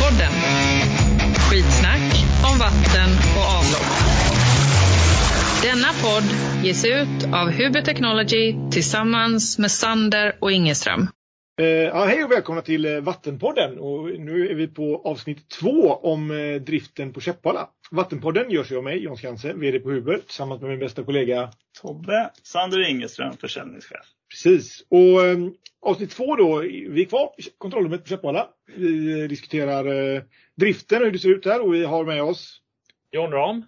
podden. Skitsnack om vatten och avlopp. Denna podd ges ut av Huber Technology tillsammans med Sander och Ingeström. Eh, ja, hej och välkomna till eh, Vattenpodden. Och nu är vi på avsnitt två om eh, driften på Käppala. Vattenpodden görs ju av mig, Jon Skanse, VD på Huber, tillsammans med min bästa kollega. Tobbe Sander Ingeström, försäljningschef. Precis. Och eh, avsnitt två då, vi är kvar i kontrollrummet på Käppala. Vi eh, diskuterar eh, driften och hur det ser ut här och vi har med oss John Ram,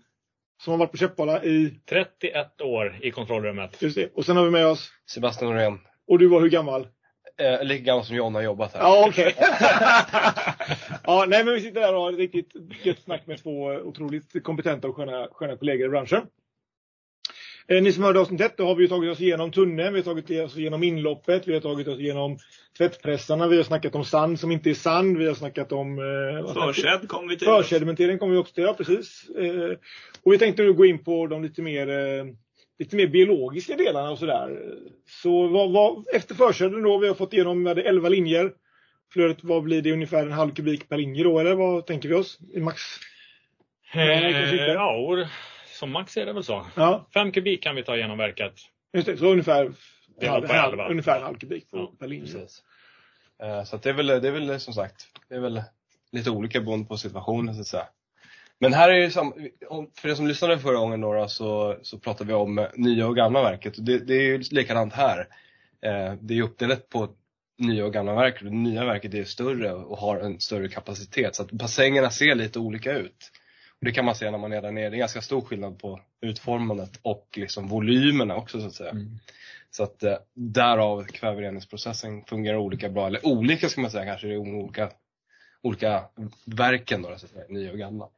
som har varit på Käppala i... 31 år i kontrollrummet. Just det. Och sen har vi med oss, Sebastian Norén. och du var hur gammal? Eh, lika gammal som John har jobbat här. Ja, okej. ja, nej, men vi sitter där och har ett riktigt gött snack med två otroligt kompetenta och sköna, sköna kollegor i branschen. Eh, ni som hörde avsnitt ett, då har vi ju tagit oss igenom tunneln, vi har tagit oss igenom inloppet, vi har tagit oss igenom tvättpressarna, vi har snackat om sand som inte är sand, vi har snackat om eh, vad snackar- Försedd kom Typ. vi till. Försedmentering kommer vi också till, ja precis. Eh, och vi tänkte nu gå in på de lite mer, eh, lite mer biologiska delarna och sådär. Så vad, vad, efter försedeln då, vi har fått igenom vi hade 11 linjer. Flödet, vad blir det ungefär en halv kubik per linje då eller vad tänker vi oss? I max? Nej, kanske inte. Eh, ja, och som max är det väl så. Ja, Fem kubik kan vi ta igenom verket. just det. Så ungefär, Det var på elva. ungefär en halv kubik per- Ja, per linje. Precis. Eh, så att det, är väl, det är väl som sagt, det är väl lite olika beroende på situationen så att säga. Men här är ju sam, om- för er som lyssnade förra gången några så, så pratade vi om eh, nya och gamla verket. Och det, det är ju likadant här. Eh, det är ju uppdelat på nya och gamla verket. Det nya verket är större och har en större kapacitet. Så att bassängerna ser lite olika ut. Och det kan man se när man är där nere. Det är ganska stor skillnad på utformandet och liksom volymerna också så att säga. Mm. Så att eh, därav kvävereningsprocessen fungerar olika bra, eller olika ska man säga kanske, det är olika, olika verken då, så att säga, nya och gamla.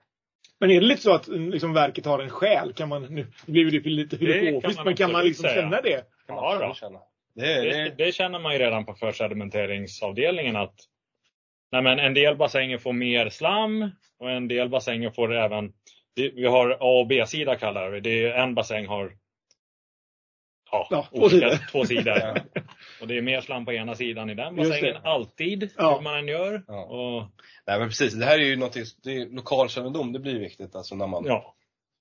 Men är det lite så att mm, liksom, verket har en själ? Kan man, nu blir det lite kan filosofiskt, man men kan man absolut liksom säga. känna det? Kan Ja, man då. absolut känna. Det är, det Det, är, det känner man ju redan på försedmenteringsavdelningen att nej men en del bassänger får mer slam och en del bassänger får även, vi vi har A och B-sida kallar vi det. det. är- En bassäng har ja, Ja, två olika, sidor. två sidor. Ja. Och det är mer slam på ena sidan i den Just det. bassängen, alltid, Ja. hur man än gör. Ja. Och, nej, men precis, det här är ju någonting, det är lokalkännedom, det blir viktigt alltså när man, ja.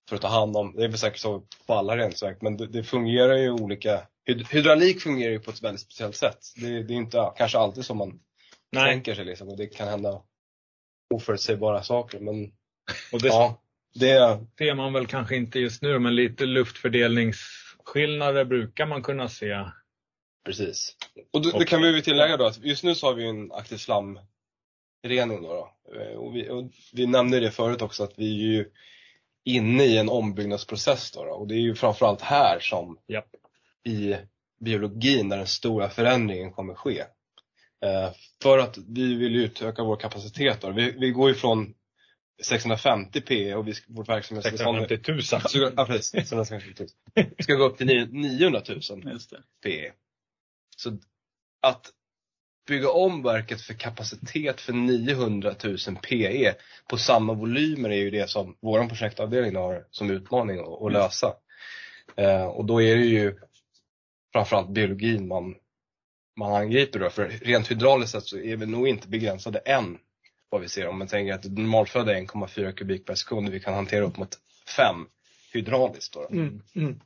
för att ta hand om, det är väl säkert så på alla reningsverk, men det, det fungerar ju olika, hyd- hydraulik fungerar ju på ett väldigt speciellt sätt. Det, det är inte ja, kanske alltid som man Nej, tänker sig liksom, och det kan hända oförutsägbara saker, men och det, ja, det, ser man väl kanske inte just nu, men lite luftfördelningsskillnader brukar man kunna se. Precis. Och då, Och- det kan vi väl tillägga då att just nu så har vi ju en aktiv slamrening då. då. Eh, Och vi, och vi nämnde det förut också att vi är ju inne i en ombyggnadsprocess då, då. och det är ju framförallt här som Japp. i biologin där den stora förändringen kommer ske. Eh, För att vi vill ju utöka vår kapacitet då. Vi, vi går ju från 650 PE och vi, ska- vårt verksamhetsbestånd 650 000. Ja, precis. 650 000. Vi ska gå upp till nio- 900 000 Just det. PE. Så att bygga om verket för kapacitet för 900 000 PE på samma volymer är ju det som vår projektavdelning har som utmaning att, att lösa. Eh, och då är det ju framförallt biologin man, man angriper då. För rent hydrauliskt sett så är vi nog inte begränsade än vad vi ser. Om man tänker att normalflöde är 1,4 kubik per sekund och vi kan hantera upp mot 5 hydrauliskt. Då då. Mm, mm.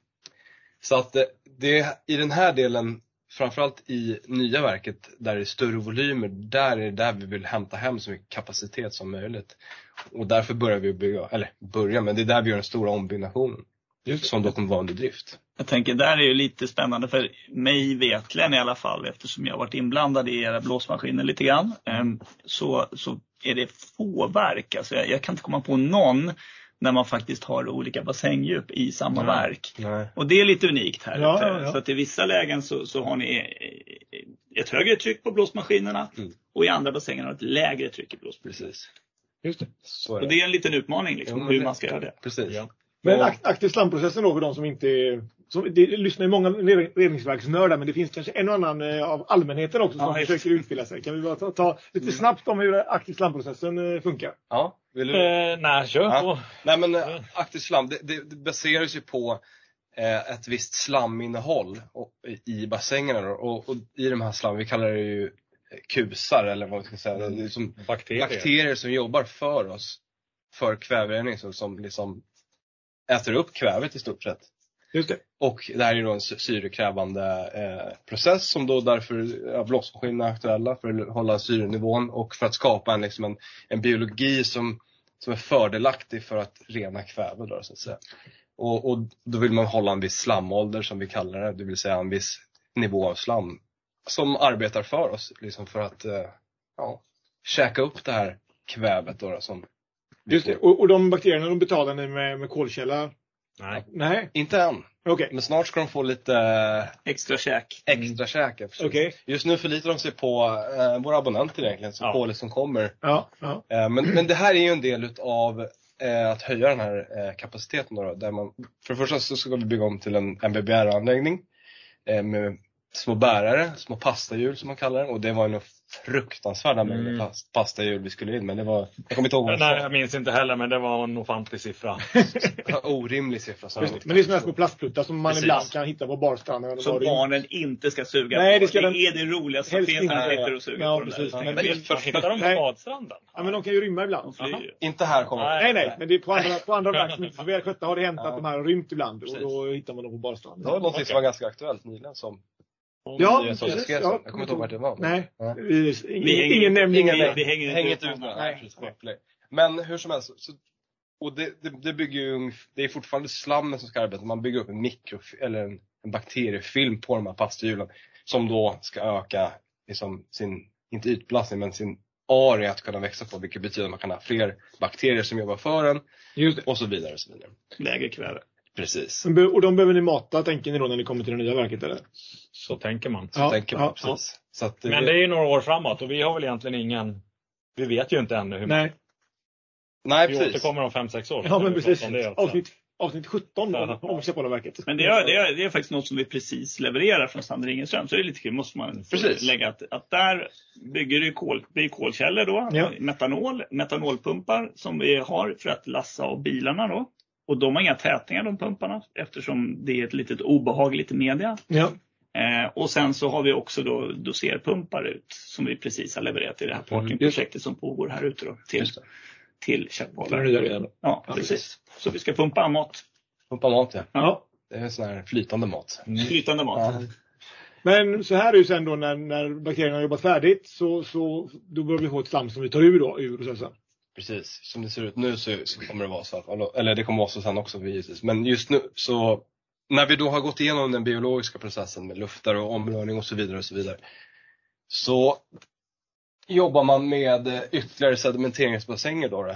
Så att eh, det, i den här delen, framförallt i nya verket där det är större volymer, där är det där vi vill hämta hem så mycket kapacitet som möjligt. Och därför börjar vi bygga, eller börja, men det är där vi gör den stora ombyggnationen. Som då kommer vara under drift. Jag tänker där är ju lite spännande för mig vetligen i alla fall eftersom jag har varit inblandad i era blåsmaskiner lite grann. ehm, Så, så är det få verk. Alltså jag, jag kan inte komma på någon när man faktiskt har olika bassängdjup i samma Nej. verk. Nej. Och det är lite unikt här. Ja, ute. ja, ja. Så att i vissa lägen så, så har ni eh, ett högre tryck på blåsmaskinerna Mm. och i andra bassänger har ni ett lägre tryck i blåsmaskinerna. Precis. Just det. Så är Och det. det är en liten utmaning liksom, Ja, men hur det- man ska göra det. Precis. Ja. Men Och- ak- aktiv slamprocessen då för de som inte är- som, det lyssnar ju många red- reningsverksnördar men det finns kanske en och annan eh, av allmänheten också som Ja, just- försöker utbilda sig. Kan vi bara ta, ta lite snabbt om hur aktiv slamprocessen eh, funkar? ja. Vill du? Eh, nej, kör Ja. på. Nej men eh, Mm. aktivt slam, det, det, det baseras ju på eh, ett visst slaminnehåll och, i- i bassängerna då. Och, och i de här slammen, vi kallar det ju eh, kusar eller vad vi ska säga. Det är som Bakterier. bakterier som jobbar för oss, för kväverening, så som liksom äter upp kvävet i stort sett. Just det. Och det här är då en sy- syrekrävande eh, process som då därför ja, blåsmaskinerna är aktuella för att hålla syrenivån och för att skapa en, liksom en, en biologi som, som är fördelaktig för att rena kväve. Då, så att säga. Och, och då vill man hålla en viss slamålder som vi kallar det, det vill säga en viss nivå av slam som arbetar för oss liksom för att eh, ja, käka upp det här kvävet. Då, då, som vi Just det. får. Och, och de bakterierna de betalar ni med, med kolkälla? Nej. Nej, Inte än, okej. men snart ska de få lite eh, Extra käk. extra Mm. käk. eftersom- Okej. Just nu förlitar de sig på eh, våra abonnenter egentligen, så Ja. på det som kommer. Ja, ja. Eh, men, men det här är ju en del av eh, att höja den här eh, kapaciteten. Då, då, där man, för det första så ska vi bygga om till en MBBR-anläggning eh, med små bärare, små pastahjul som man kallar det. Och det var en fruktansvärda mängd Mm. pas- pastahjul vi skulle in men det var, jag kommer inte ihåg vad det Nej, var. jag minns inte heller, men det var en ofantlig siffra. Det var en orimlig siffra. Så Just det. Men det är sådana här små plastpluttar som man Precis. ibland kan hitta på barstranden. eller Som var det- barnen inte ska suga Nej, på. det ska den- är det roligaste som helst finns. inte. Man sitter och suger Ja, på precis. den Men- där. Men- Man hittar dem på Nej. badstranden. Ja, men de kan ju rymma De ibland. flyr ju. Inte här kommer Nej. Nej, nej, men det är på andra, på andra verk som inte är så väl skötta har det hänt Ja. att de här har rymt ibland och Precis. då hittar man dem på Det barstranden. var något som Okej. var ganska aktuellt nyligen som Ja, som precis. beskrevs. Ja. Jag kommer inte ihåg vart det var. Nej, Ja. vi, Vi ingen, hänger- ingen nämning. ingen vi, nämning. vi hänger inte Hänger ut inte ut någon. med den. Nej. Nej, precis. Play. Men hur som helst. Så, och det, det, det bygger ju, ungef- det är fortfarande slammen som ska arbeta. Man bygger upp en mikro, eller en, en bakteriefilm på de här pastahjulen. Som då ska öka, liksom, sin, inte ytbelastning, men sin area att kunna växa på. Vilket betyder att man kan ha fler bakterier som jobbar för en. Just det. Och så vidare och så vidare. Lägre kväve. Precis. Som be- Och de behöver ni mata tänker ni då när ni kommer till det nya verket eller? Så tänker man. Så Ja, tänker man. ja, precis. Så att, eh, Men det är ju några år framåt och vi har väl egentligen ingen... Vi vet ju inte ännu hur Nej. nej, Vi precis. återkommer om fem sex år. Ja, men Vi precis. pratar om det också. Avsnitt, avsnitt 17 om, Ja. om Chepollo-verket. Men det är, det, är, det är faktiskt något som vi precis levererar från Sander Ingenström. Så det är lite kul, måste man Precis. lägga. Att, att där bygger du kol, det är kolkällor då, Ja. metanol, metanolpumpar som vi har för att lassa av bilarna då. Och de har inga tätningar de pumparna eftersom det är ett litet obehagligt media. Ja. Eh, och sen så har vi också då doserpumpar ut som vi precis har levererat i det här partnerprojektet som pågår här ute då, till, Just det. till Den Käppala. nya grejen. Ja, Ja, precis. Så vi ska pumpa ammat, Pumpa mat ja. Ja. Det är sån här flytande mat. flytande mat. Ja. Men så här är ju sen då när, när bakterierna har jobbat färdigt så, så då börjar vi få ett slam som vi tar ur då ur processen. Precis, som det ser ut nu så, så kommer det vara så att, eller det kommer vara så sen också givetvis, men just nu så när vi då har gått igenom den biologiska processen med luftar och omrörning och så vidare och så vidare så jobbar man med eh, ytterligare sedimenteringsbassänger då, då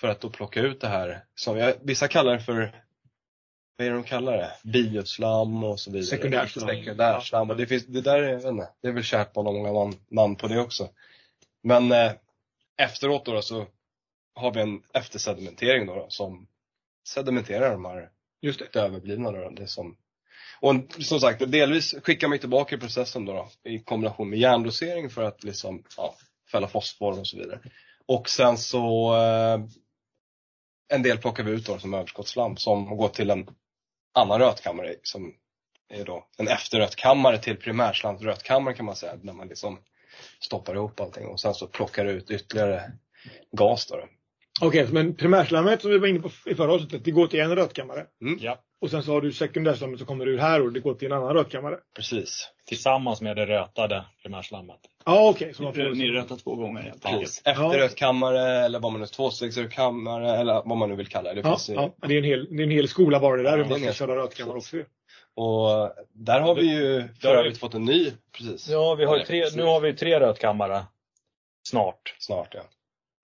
för att då plocka ut det här som jag, vissa kallar det för vad är det de kallar det? Bioslam och så vidare. Sekundärslam. Sekundärslam. Och det, finns, det där är, jag vet inte, det är väl kärt barn har många namn, namn på det också. Men eh, efteråt då, då så har vi en eftersedimentering då, då som sedimenterar de här Just det. det överblivna. Då, då. det som, och en- som sagt, delvis skickar man tillbaka i processen då, då i kombination med järndosering för att liksom, ja, fälla fosfor och så vidare. Och sen så eh, en del plockar vi ut då som överskottsslam som går till en annan rötkammare som är då en efterrötkammare till primärslamrötkammaren kan man säga. När man liksom stoppar ihop allting och sen så plockar du ut ytterligare gas då. då. Okej, men primärslammet som vi var inne på i förra avsnittet, det går till en rötkammare. Ja, Och sen så har du sekundärslammet som kommer ur här och det går till en annan rötkammare. Precis. tillsammans med det rötade primärslammet. Ja, okej. så man får- Ni rötar två gånger helt Ja. enkelt. Efterrötkammare eller vad man nu, tvåstegsrötkammare eller vad man nu vill kalla det. det Ja, finns ju, ja, det är en hel, det är en hel skola bara det där Ja, hur det är man ska en- köra rötkammare också. Och där har vi ju för har vi- övrigt fått en ny precis. Ja, vi har ju tre, nu har vi tre rötkammare. Snart. Snart ja.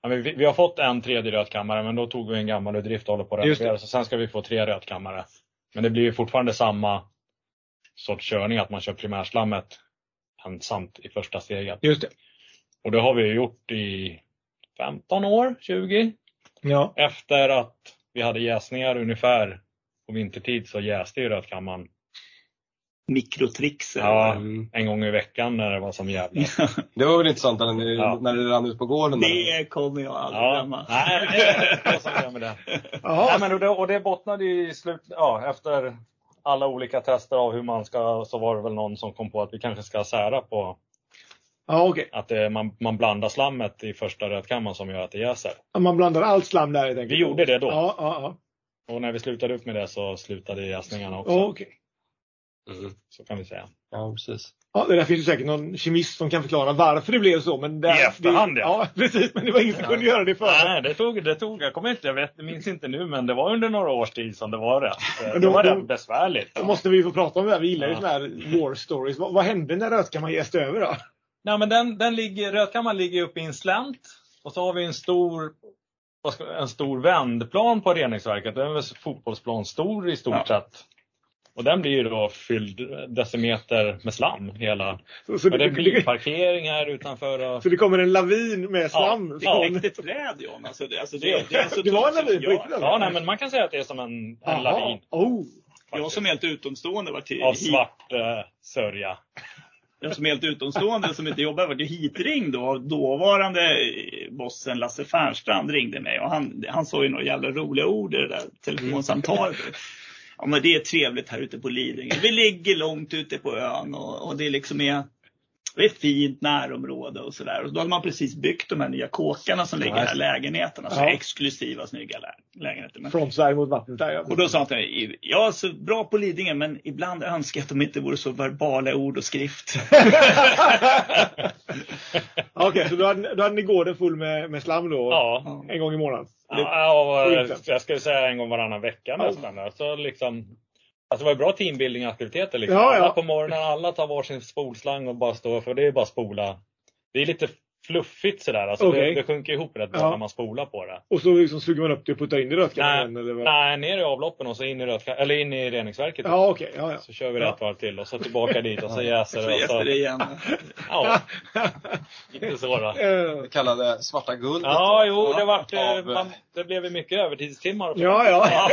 Ja, men vi, vi har fått en tredje rötkammare men då tog vi en gammal ur drift och håller på att Just det. renovera. Så sen ska vi få tre rötkammare. Men det blir ju fortfarande samma sorts körning att man kör primärslammet ensamt i första steget. Just det. Och det har vi ju gjort i 15 år, 20. Ja. Efter att vi hade jäsningar ungefär på vintertid så jäste ju rötkammaren Mikrotrixer. Ja. Mm. en gång i veckan när det var som jävligast. Det var väl intressant när, ni, Ja. när det rann ut på gården. där. Det kommer jag aldrig glömma. Nej, det var som glömmer det. Nej, Jaha. men och, det, och det bottnade ju i slut, ja, efter alla olika tester av hur man ska, så var det väl någon som kom på att vi kanske ska sära på Ja, okej. Att det, man, man blandar slammet i första rötkammaren som gör att det jäser. Ja, Man blandar allt slam där helt enkelt. Vi gjorde det då. Ja, ja, Och när vi slutade upp med det så slutade jäsningarna också. ja. Okej. Så kan vi säga. Mm. Ja, precis. Ja, det där finns ju säkert någon kemist som kan förklara varför det blev så. Men det, I efterhand, det, ja. ja. precis. Men det var ingen som kunde göra det förut. Nej, det tog, det tog. Jag kommer inte, jag vet, minns inte nu, men det var under några års tid som det var det. Men Det då- var då- rätt besvärligt. Då måste vi ju få prata om det här. Vi gillar ju Ja. såna här war stories. Vad, vad hände när rötkammaren jäste över då? Nej, men den, den ligger, rötkammaren ligger uppe i en slänt. Och så har vi en stor, vad ska, en stor vändplan på reningsverket. Den är väl fotbollsplan stor i stort Ja. sett. Och den blir ju då fylld decimeter med slam hela. Så, så, Och det är det, bilparkering här utanför. Och, så det kommer en lavin med slam. Ja, från- Riktigt träd John. Alltså, det, alltså, det, det, alltså, Det var en lavin på jag, riktigt? eller? ja, nej, men man kan säga att det är som en, en Jaha. lavin. Oh. faktiskt. jag som helt utomstående var till, Av svart eh, sörja. jag som helt utomstående som inte jobbar var ju hitringd då. av Dåvarande eh, bossen Lasse Fernstrand ringde mig och han, han sa ju några jävla roliga ord i det där telefonsamtalet. Ja men det är trevligt här ute på Lidingö. Vi ligger långt ute på ön och, och det liksom är det är ett fint närområde och sådär. Och Då hade man precis byggt de här nya kåkarna som ligger i de här lägenheterna. Så Ja. exklusiva snygga lä- lägenheter. Men Frontside mot vattnet där ja. och då sa han till mig, ja så bra på Lidingö men ibland önskar jag att de inte vore så verbala i ord och skrift. Okej, så då hade, då hade ni gården full med, med slam då? Ja. Ja. En gång i månaden? Ja, och, det- eh, jag skulle säga en gång varannan vecka nästan. Så liksom, alltså det var bra teambuilding-aktiviteter. Liksom. Ja, ja. Alla på morgonen, alla tar varsin spolslang och bara står för det är bara spola. Det är lite fluffigt sådär. Alltså Okej. det, det sjunker ihop rätt bra Ja. när man spolar på det. Och så liksom suger man upp det och puttar in i Nej, rötkammaren? eller vad? nej, ner i avloppen och så in i, rötka- eller in i reningsverket. Ja, okej. Ja, ja. Så kör vi rätt varv till och så tillbaka dit och så jäser Så det. Och jäser det så, igen. ja, inte så då. Eh, Det kallade svarta guldet. Ja, jo, det, vart, eh, Av, man, det blev ju mycket övertidstimmar. och så. ja, ja.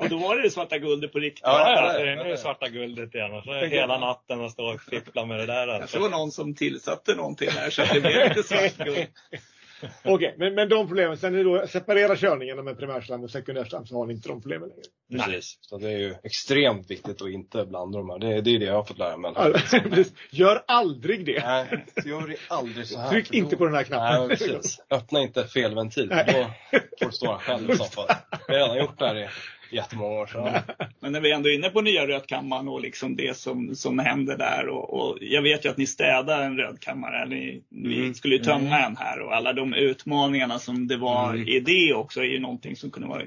Och då var det det svarta guldet på riktigt. Ja, Ja, ja, ja, ja, det är ja, nu ja. är svarta guldet igen. Och så är det hela natten och står och fipplar med det där. Kanske Alltså. var någon som tillsatte någonting där så att det blev lite svart guld. Okej, men, men de problemen. Sen är det då separera körningarna med primärslam och sekundärslam så har ni inte de problemen längre. Precis. Så det är ju extremt viktigt att inte blanda de här. Det, är- det är det jag har fått lära mig. Ja, precis. Gör aldrig det. Nej, gör det aldrig så här. Tryck för då- inte på den här knappen. Nej, men precis. Öppna inte fel ventil. för Då får du stå här själv i soffan. Vi har redan gjort det här i jättemånga år sedan. Men när vi ändå är inne på nya rödkammaren och liksom det som, som händer där. Och, och jag vet ju att ni städar en rödkammare. eller Ni, ni skulle ju tömma en här och alla de utmaningarna som det var i det också är ju någonting som kunde vara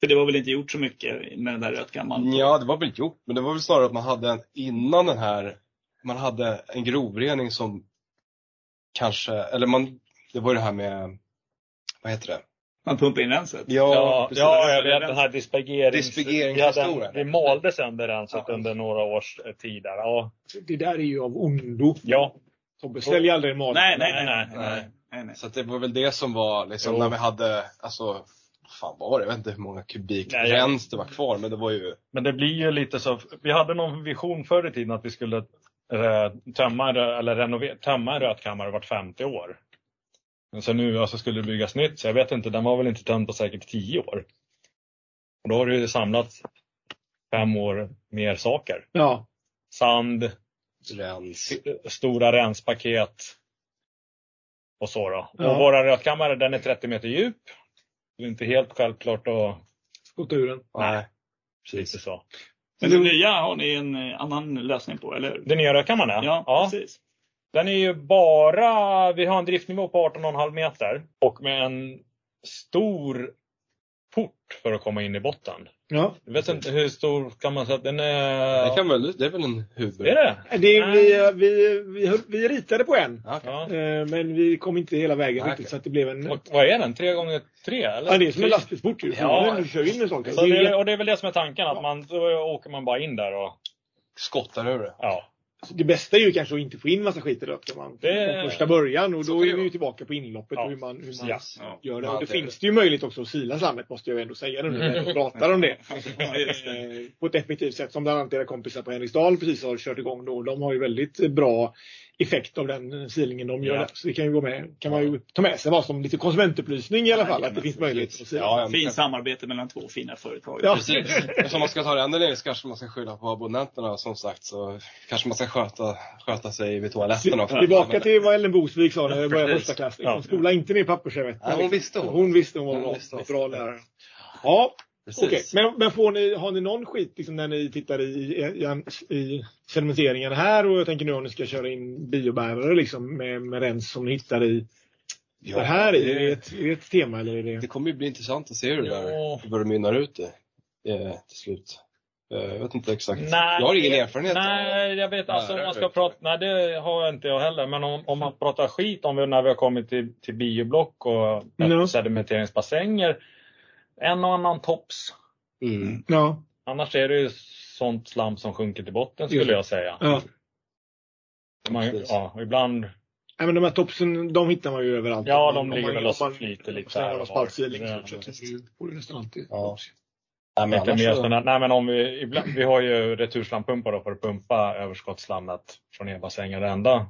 för det var väl inte gjort så mycket med den där rödkammaren? Ja, det var väl gjort. Men det var väl snarare att man hade en, innan den här, man hade en grovrening som kanske, eller man, det var ju det här med, vad heter det? Man pumpar in renset? Ja, precis. ja, jag vet den här dispergerings... Dispergeringshistorien. vi hade en- Vi malde sönder renset Ja. under några års eh, tid där. Ja. Det där är ju av ondo. ja. Tobbe, sälj aldrig mat. Nej, nej, nej. nej, Nej, nej, nej, nej. Så att det var väl det som var liksom Jo. när vi hade, alltså, vad fan var det? Jag vet inte hur många kubik Nej, jag- rens det var kvar, men det var ju, Men det blir ju lite så. Vi hade någon vision förr i tiden att vi skulle eh, tömma, en rö- eller renovera, tömma en rötkammare vart 50 år. Men Så nu alltså, skulle det byggas nytt, så jag vet inte, den var väl inte tömd på säkert 10 år. Och då har det ju samlats fem år mer saker. Ja. Sand, rens. stora renspaket och så då. Ja. Och våra rötkammare den är 30 meter djup. Det är inte helt självklart att... Skotta ur den. Nej. Precis. Så. Men det nya har ni en eh, annan lösning på, eller hur? Den nya rötkammaren Ja, precis. Den är ju bara, vi har en driftnivå på 18,5 meter och med en stor port för att komma in i botten. Ja. Jag vet inte hur stor kan man säga att den är? Det, kan väl, det är väl en huber? Är det? Det, är- vi, vi, vi, höll- vi ritade på en. Ja, okej. Ja. Eh, Men vi kom inte hela vägen Nej, riktigt okej. så att det blev en... Och vad är den? 3 gånger 3 eller? Ja, det är som en lastbilsport ju. Ja. Du kör in en sån. Så det, är- och det är väl det som är tanken, att man, då åker man bara in där och Skottar ur det. ja. Alltså, Det bästa är ju kanske att inte få in massa skit i rötkammaren Det- från första början och Så då kan är det vi ju vara. tillbaka på inloppet Ja. och hur man, hur man Ja. Ja. gör det. Ja, Och det det är finns det ju möjlighet också att sila slammet måste jag ju ändå säga nu när vi pratar om det. Ja, just det. Eh, På ett effektivt sätt som bland annat era kompisar på Henriksdal precis har kört igång då. De har ju väldigt bra effekt av den sealingen de gör. Ja. där. Så det kan ju gå med, kan man ju ta med sig vad som lite konsumentupplysning i alla fall. Att det finns möjlighet att seala. Ja, ja, men- Fint samarbete mellan två fina företag. Ja. Precis. Eftersom man ska ta det ända ner så kanske man ska skylla på abonnenterna och som sagt så kanske man ska sköta, sköta sig vid toaletterna också. Tillbaka till vad Ellen Bosvik sa när jag började precis. första klass. Ja. Liksom, skola inte ner pappersservetter. Nej, hon visste hon. Hon visste hon var Hon bra, visste hon. bra lärare. Ja, Precis. okej. Men, men får ni, har ni någon skit liksom, när ni tittar i, i, i sedimenteringen här? Och jag tänker nu om ni ska köra in biobärare liksom, med, med rens som ni hittar i. Ja, det här är, är, det det, ett, är det ett tema eller är det... det kommer ju bli intressant att se hur det Ja. där, vad det mynnar ut i eh, till slut. Eh, jag vet inte exakt. Nej, jag har ingen erfarenhet av Nej, jag vet alltså om man ska Nej. prata, nej det har jag inte jag heller, men om, om man pratar skit om när vi har kommit till, till bioblock och Ja. sedimenteringsbassänger. En och annan tops. det. Mm. Ja, Annars är det ju sånt slam som sjunker till botten Just skulle det. jag säga. ja. Man, precis. ja, och ibland, Nej, men de här topsen, de hittar man ju överallt. Ja, de Om man- ligger väl om och man- flyter lite om man- här om man och sparar var. feeling, Ja. så- så- så- får du nästan alltid Ja. tops. Nej, men lite annars mer så- sådana, nej men om vi, ibland, vi har ju returslampumpar då för att pumpa överskottsslammet från era bassänger och ända.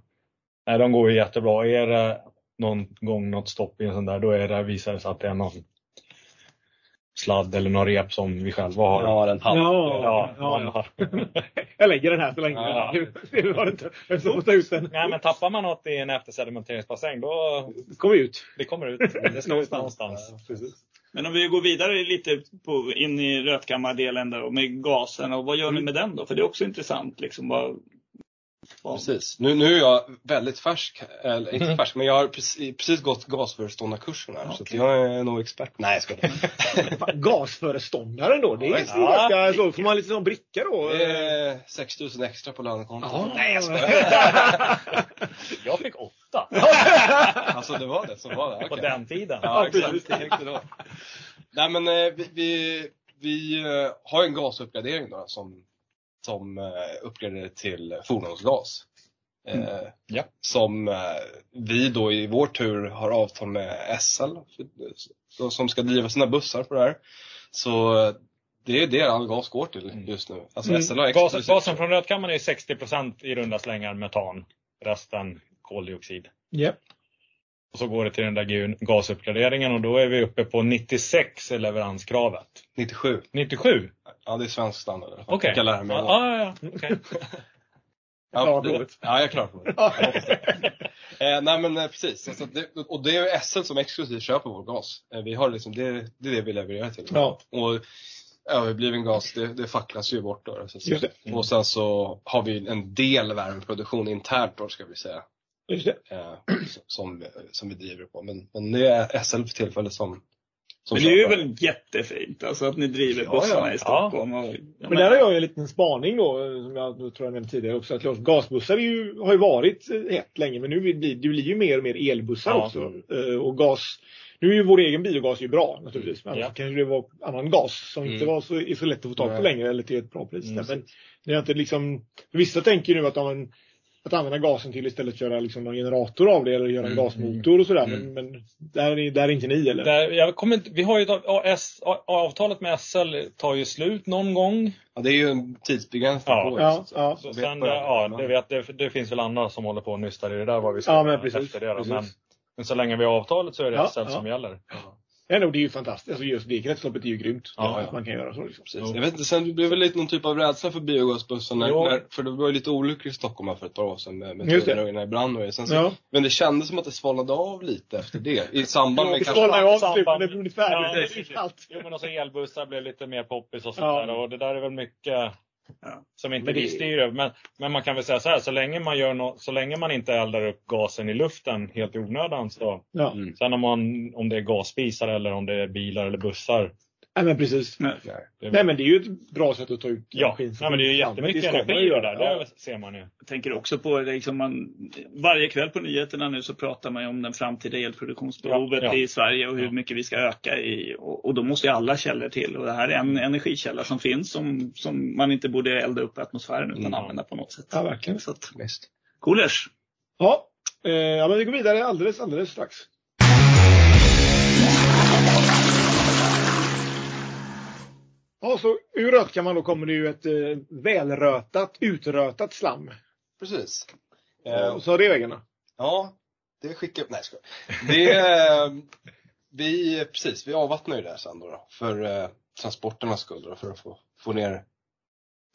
Nej, de går ju jättebra. Är det någon gång något stopp i en sån där, då är det, visar det sig att det är någon sladd eller någon rep som vi själva har. Ja, den halv. Ja, ja, man ja. har- Jag lägger den här så länge. Ja. Det var inte. Jag får ta ut den. Nej, men tappar man något i en eftersedimenteringsbassäng, då Kom ut. det kommer ut. Det ska ut någonstans. Ja, precis. Men om vi går vidare lite på, in i rötkammardelen där och med gasen. Och vad gör ni med den då? För det är också intressant. Liksom, vad, vad, Precis. Nu, nu är jag väldigt färsk, eller Mm. inte färsk, men jag har precis, precis gått gasföreståndarkursen här. Så att Okej. jag är nog expert. Nej, jag skojar. Fan, Gasföreståndaren då. Det är Ja, ju ja. ganska så. Får man lite sån bricka då? Det är 6 000 Eh, extra på lönekontot. Ja. Nej, jag skojar. Jag fick åtta Alltså det var det som var det. på Okej. den tiden. Ja, precis. exakt. Exakt det var. Nej, men eh, vi, vi, vi eh, har ju en gasuppgradering då som, som eh, uppgraderar till fordonsgas. Eh, Mm. Ja. Som eh, vi då i vår tur har avtal med SL för- så- som ska driva sina bussar på det här. Så eh, det är det all gas går till Mm. just nu. Alltså Mm. SL har extra Gasen, gasen från rötkammaren är 60 i runda slängar metan. Resten koldioxid. Ja. Och så går det till den där gu- gasuppgraderingen och då är vi uppe på 96 i leveranskravet. 97. 97? Ja, det är svensk standard. i alla fall. Okej. Jag kan lära mig. Ja, ja, ja. okej. Klara Ja, det, provet. ja, jag klarar provet. Jag hoppas det. eh, nej men eh, precis. Alltså, det, och det är ju SL som exklusivt köper vår gas. Eh, vi har liksom, det, det är det vi levererar till. Ja. Och överbliven gas, det, det facklas ju bort. Då, så att säga. Just det. Och sen så har vi en del värmeproduktion internt då, ska vi säga. Just det. Eh, som, som vi driver på. Men, men det är SL för tillfället som, som men det är ju köper. väl jättefint alltså, att ni driver Ja, bussarna ja. i Stockholm. Och, ja, Men där har jag ju en liten spaning då, eh, som jag tror jag nämnde tidigare också. Att klart, gasbussar är ju, har ju varit eh, hett länge, men nu blir det blir ju mer och mer elbussar Ja. också. Eh, Och gas, nu är ju vår egen biogas ju bra naturligtvis. Men Ja. annars kanske det var annan gas som inte Mm. var så, är så lätt att få tag på Nej. längre eller till ett bra pris. Mm. Men det är inte liksom, vissa tänker ju nu att, ja, men, att använda gasen till istället köra liksom en generator av det eller göra en Mm. gasmotor och sådär. Mm. Men, men där, är, där är inte ni eller? Där, jag kommer inte, vi har ju ett av- AS, A- avtalet med SL tar ju slut någon gång. ja, det är ju en tidsbegränsning Ja. på det. Ja, så att säga. ja. Så Vet sen, vad jag ja, menar. det, vet, det, det finns väl andra som håller på och nystar i det där vad vi ska Ja, men göra precis, efter det. då. precis. Men, men så länge vi har avtalet så är det Ja, SL som gäller. Ja, no, det är ju fantastiskt. Alltså just det kretsloppet är ju grymt. Ja, att ja. man kan göra så. Liksom. Precis. Jag vet inte, sen blev det väl lite någon typ av rädsla för biogasbussen. När, Jo. när, för det var ju lite olyckor i Stockholm här för ett par år sedan med, med Just det. tunnelugnar i brand och det. sen så, Ja. Men det kändes som att det svalnade av lite efter det. I samband med Vi kanske... svalnar ju av samband- typ, men det blir ungefär Ja, det är precis. allt. Jo, men också elbussar blev lite mer poppis och sånt Ja. där. Och det där är väl mycket Ja. som inte Men det- vi styr över. Men, men man kan väl säga så här, så länge man, gör nå- så länge man inte eldar upp gasen i luften helt i onödan. Så, Ja, Mm. sen om, man, om det är gasspisar eller om det är bilar eller bussar. nej, men precis. Det är Nej men det är ju ett bra sätt att ta ut ja, energin. nej, men det är ju jättemycket Det ska man energi i ju det göra. där. Ja. Det ser man ju. Jag tänker också på, liksom man, varje kväll på nyheterna nu så pratar man ju om den framtida elproduktionsbehovet Ja, ja. i Sverige och hur Ja. mycket vi ska öka i. Och, och då måste ju alla källor till. Och det här är en energikälla som finns som, som man inte borde elda upp i atmosfären utan Mm. använda på något sätt. Ja, verkligen. Så att, Visst. coolers! Ja. Eh, ja, men vi går vidare alldeles, alldeles strax. Ja, så ur rötkammaren då kommer det ju ett eh, välrötat, utrötat slam. Precis. Eh, och så revväggarna. Ja, det skickar Nej, jag skojar. Det, eh, vi, precis, vi avvattnar ju det här sen då, då för eh, transporternas skull då, för att få, få ner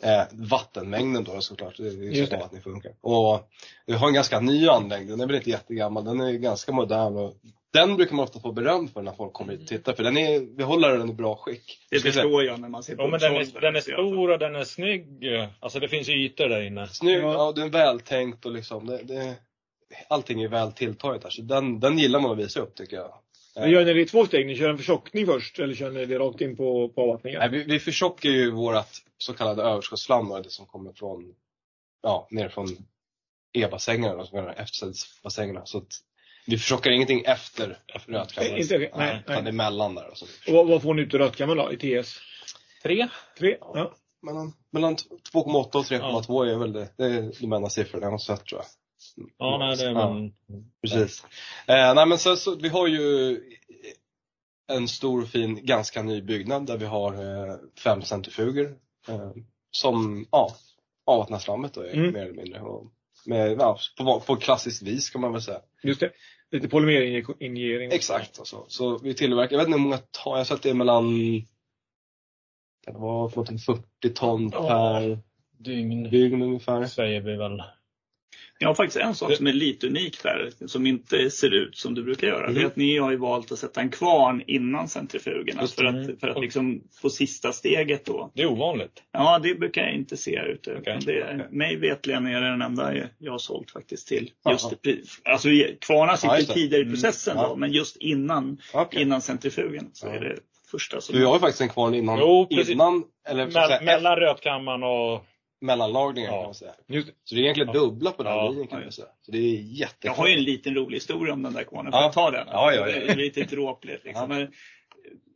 eh, vattenmängden då såklart. Det är ju Just så det. avvattning funkar. Och vi har en ganska ny anläggning, den är väl inte jättegammal, den är ganska modern och den brukar man ofta få beröm för när folk kommer hit och tittar för den är, vi håller den i bra skick. Det förstår jag när man ser Ja, men den är, Uppsala. den är stor och den är snygg. Alltså det finns ju ytor där inne. Snygg, Ja. ja. den är vältänkt och liksom det, det, allting är väl tilltaget här så den, den gillar man att visa upp tycker jag. Eh, Men Gör ni det i två steg? Ni kör en förtjockning först eller kör ni det rakt in på, på avvattningen? Nej, vi, vi förtjockar ju vårt så kallade överskottsslam, då, det som kommer från, ja, ner från e-bassängerna, de så kallade eftersätesbassängerna. Så att vi förtjockar ingenting efter Nej, rötkammaren. inte, nej, nej. Nej, utan det är mellan där. Alltså. Och vad, vad får ni ut ur rötkammaren då? I TS? Tre. Tre? Ja. Mellan, mellan 2,8 och 3,2 är väl det, det är de enda siffrorna jag har sett tror jag. Ja, nej, det är Ja. man. Precis. Eh, nej men så, så, vi har ju en stor fin, ganska ny byggnad där vi har eh, fem centrifuger eh, som ja, avvattnar slammet då, Mm. mer eller mindre. Och med, ja, på, på klassiskt vis kan man väl säga. Just det. Lite polymerinjering. Exakt. och så. så vi tillverkar, jag vet inte hur många ton, jag har sett att det är mellan kan det vara uppåt en 40 ton Ja. per Dygn dygn ungefär. säger vi väl. Jag har faktiskt en sak som är lite unik där, som inte ser ut som det brukar göra. Mm. Det är att ni har ju valt att sätta en kvarn innan centrifugerna Just för att, för att liksom få sista steget då. Det är ovanligt. Ja, det brukar jag inte se ute. Okej. Men Det, mig vetligen är det den enda jag har sålt faktiskt till. Jaha. Just det, alltså kvarnar Ja, sitter just det. tidigare i processen Mm. Ja. då, men just innan, Okay. innan centrifugen så Ja. är det första som... Vi har ju faktiskt en kvarn innan, Jo, precis. innan eller så att säga, Mell- mellan rötkammaren och... mellanlagringar Ja. kan man säga. Just det. Så det är egentligen Ja. dubbla på den Ja. linjen kan Ja, man just säga. Så det är jätte... Jag har ju en liten rolig historia om den där kvarnen. Får Ja. jag ta den? Ja, ja, ja. Det är lite dråpligt. Liksom. Ja. Men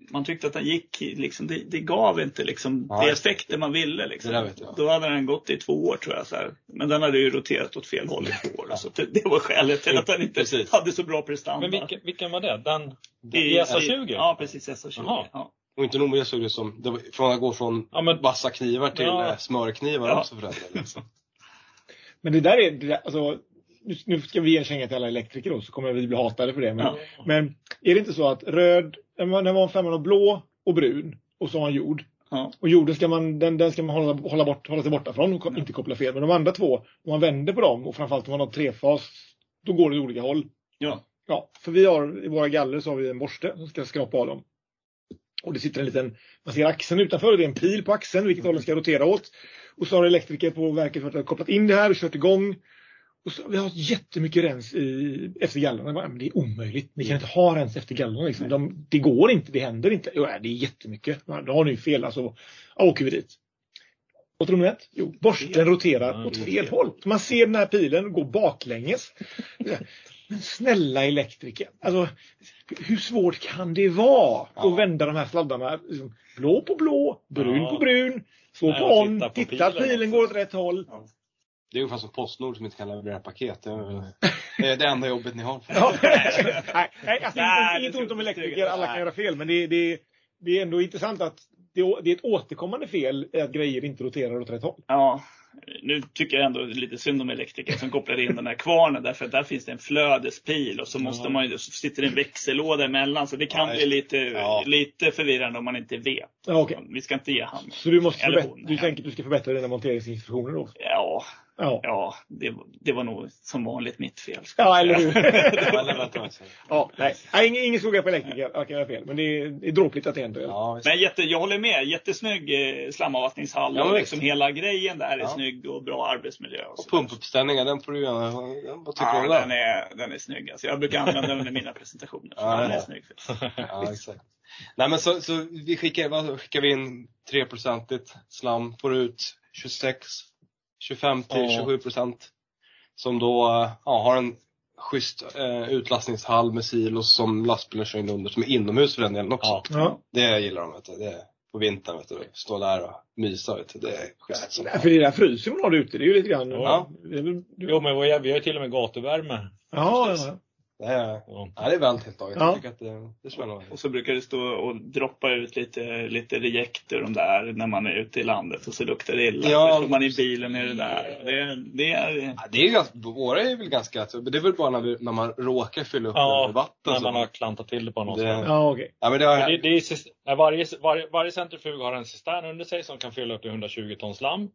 Man tyckte att den gick, liksom, det, det gav inte liksom, Nej. det effekter man ville. Liksom. Det där vet jag. Då hade den gått i två år tror jag. Så här. Men den hade ju roterat åt fel håll i två år. Så att det, det var skälet till att den inte Precis. hade så bra prestanda. Men vilken, vilken var det? Den? Det I SA20? Ja, precis. SA20. Jaha. Ja. Och inte nog med det så är det som, det var, från att gå från Ja, men vassa knivar till Ja. eh, smörknivar Ja. också för den delen. liksom. Men det där är, det där, alltså, nu- nu ska vi ge en känga till alla elektriker då så kommer vi bli hatade för det. Men, Ja. men är det inte så att röd, när man när man har en femma av blå och brun och så har man jord. Ja. Och jorden ska man, den, den ska man hålla, hålla, bort, hålla sig borta från och ko- inte koppla fel. Men de andra två, om man vänder på dem och framförallt om man har trefas, då går det åt olika håll. Ja. Ja, för vi har i våra galler så har vi en borste som ska skrapa av dem. Och det sitter en liten, man ser axeln utanför och det är en pil på axeln vilket håll den ska rotera åt. Och så har elektriker på verket för att ha kopplat in det här och kört igång. Och så, vi har jättemycket rens i, efter gallerna. Jag bara, Men det är omöjligt. Ni kan inte ha rens efter gallerna. Liksom. De, det går inte. Det händer inte. Jo, nej, det är jättemycket. Ja, Då har ni ju fel. Alltså, ja, åker vi dit. Och tror ni rätt? Jo, borsten roterar åt fel håll. Man ser den här pilen gå baklänges. Men snälla elektriker. Alltså, hur svårt kan det vara Ja. att vända de här sladdarna? Liksom, blå på blå, brun Ja. på brun. Slå Nej, på och on, titta på titta att pilen pilen också. går åt rätt håll. Det är ungefär som Postnord som inte kan leverera paket. Det är- Det är det enda jobbet ni har. Ja. nej, nej, alltså, Nej, inget det ont om tror jag elektriker, inte. alla kan Nej. göra fel. Men det, det, det är ändå intressant att det, å- det är ett återkommande fel är att grejer inte roterar åt rätt håll. Ja, nu tycker jag ändå lite synd om elektriker som kopplade in den här kvarnen därför att där finns det en flödespil och så måste man ju, så sitter det en växellåda emellan så det kan Nej. bli lite, Ja. lite förvirrande om man inte vet. Ja, okej. Vi ska inte ge han. Så du, måste Eller förbättra, hon, du ja. tänker att du ska förbättra dina monteringsinstruktioner då? Ja, Ja, ja det, det var nog som vanligt mitt fel. ja eller hur? Ja, leverantörer, alltså. ja, nej. nej, ingen, ingen skugga på elektriker, alla kan göra fel. Men det är, det är dråpligt att det händer. Ja, visst. Men jätte, jag håller med. Jättesnygg eh, slamavvattningshall. Ja, och visst. liksom hela grejen där är Ja. snygg och bra arbetsmiljö. Och Och så pumpuppställningar, den får du gärna... den- Vad tycker du om Ja, den, den? är, den är snygg. Alltså, jag brukar använda den i mina presentationer. Ja, den är ja. snygg. Ja, Liksom. exakt. Nej men så, så vi skickar, vad, skickar vi in 3-procentigt slam, får ut 26, 25 till Ja. 27 procent. Som då eh, ja, har en schysst eh, utlastningshall med silos som lastbilen kör in under, som är inomhus för den delen också. Ja. Ja. Det gillar de vet du. Det är på vintern vet du. Stå där och mysa vet du. Det är schysst. som För Alltså, det där frysen hon har ute, det är ju lite grann... Ja. Det är väl- Jo, men vi har vi har ju till och med gatuvärme. Ja, ja, ja. Det är, Ja. ja, det är väl tilltaget. Ja. Jag tycker att det, det är spännande. Och så brukar det stå och droppa ut lite, lite rejekt ur de där när man är ute i landet och så luktar det illa. Ja. Ja, står man i bilen är det där. Det, det är, Ja, det är ju ganska, våra är väl ganska, alltså, men det är väl bara när, vi, när man råkar fylla upp Ja, med vatten. När så. man har klantat till det på något Det- sätt. Ja, okej. Ja, men det har, Men Det, det är, sis- ja, varje, varje, varje centrifug har en cistern under sig som kan fylla upp till 120 ton slam.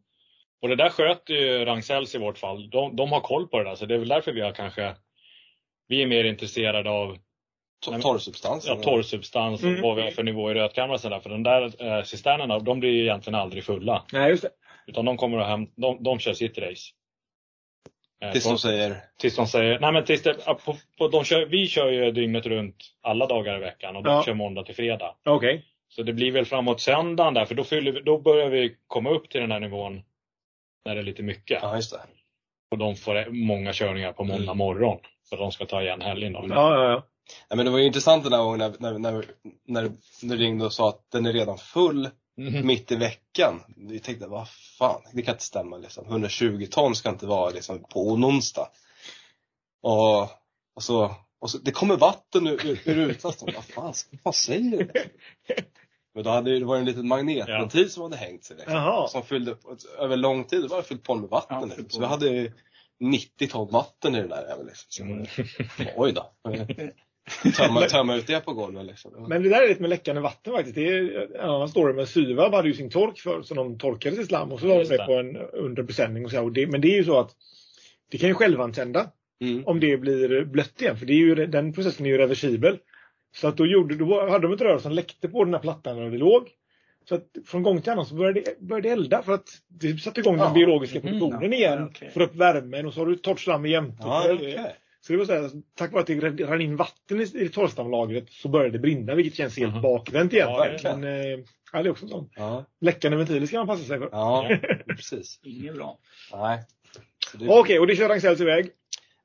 Och det där sköter ju Ragn-Sells i vårt fall. De, de har koll på det där, så det är väl därför vi har kanske vi är mer intresserade av to- torrsubstanser. ja, torrsubstans Mm. och vad vi har för nivå i rötkamrar och sådär. För de där eh, cisternerna, de blir ju egentligen aldrig fulla. Nej, just det. Utan de kommer att hem, de, de kör sitt race. Eh, Tills från- de säger, Tills de säger, nej men tills det, ja, på, på, de kör, vi kör ju dygnet runt alla dagar i veckan och de Ja. kör måndag till fredag. Okej. Så det blir väl framåt söndagen där, för då, fyller vi, då börjar vi komma upp till den här nivån när det är lite mycket. ja just det. Och de får många körningar på måndag Mm. morgon. För de ska ta igen helgen då. Ja, ja, ja. Ja, men det var ju intressant den här gången när, när, när, när du ringde och sa att den är redan full Mhm. mitt i veckan. Vi tänkte, vad fan, det kan inte stämma liksom. 120 ton ska inte vara liksom, på en onsdag. Och, och, så, och så, det kommer vatten ur, ur, ur rutan. Så, Vad fan, vad säger du? Men då hade ju- det var en liten magnetventil som hade hängt sig. Liksom, Jaha. som fyllde, över lång tid, det var fyllt på med vatten. Ja, liksom. fyllt på. Så vi hade ju 90 ton vatten i den där även, liksom. Så, Mm. Oj då. Tömma, tömma ut det på golvet liksom. Men det där är lite med läckande vatten faktiskt. Det är en annan story. Men Syvab hade ju sin tork för som de torkade till slam och så la de Just det det. på en underbesändning. Och så här. Och det, men det är ju så att det kan ju självantända Mm. om det blir blött igen. För det är ju, den processen är ju reversibel. Så att då, gjorde, då hade de ett rör som läckte på den här plattan när det låg. Så att från gång till annan så började det, började det elda för att det satte igång den Ja. biologiska produktionen igen. okej. Får upp värmen och så har du torrt slam igen. Ja, okej. Så det var så här, tack vare att det rann in vatten i, i torrstamlagret så började det brinna vilket känns helt Mhm. bakvänt igen. Ja, Mm. verkligen. Men, eh, ja, det är också en sån. Ja, Läckande ventiler ska man passa sig för. ja precis. inget bra. Nej. Så det, Okej, och det kör Ragn-Sells iväg.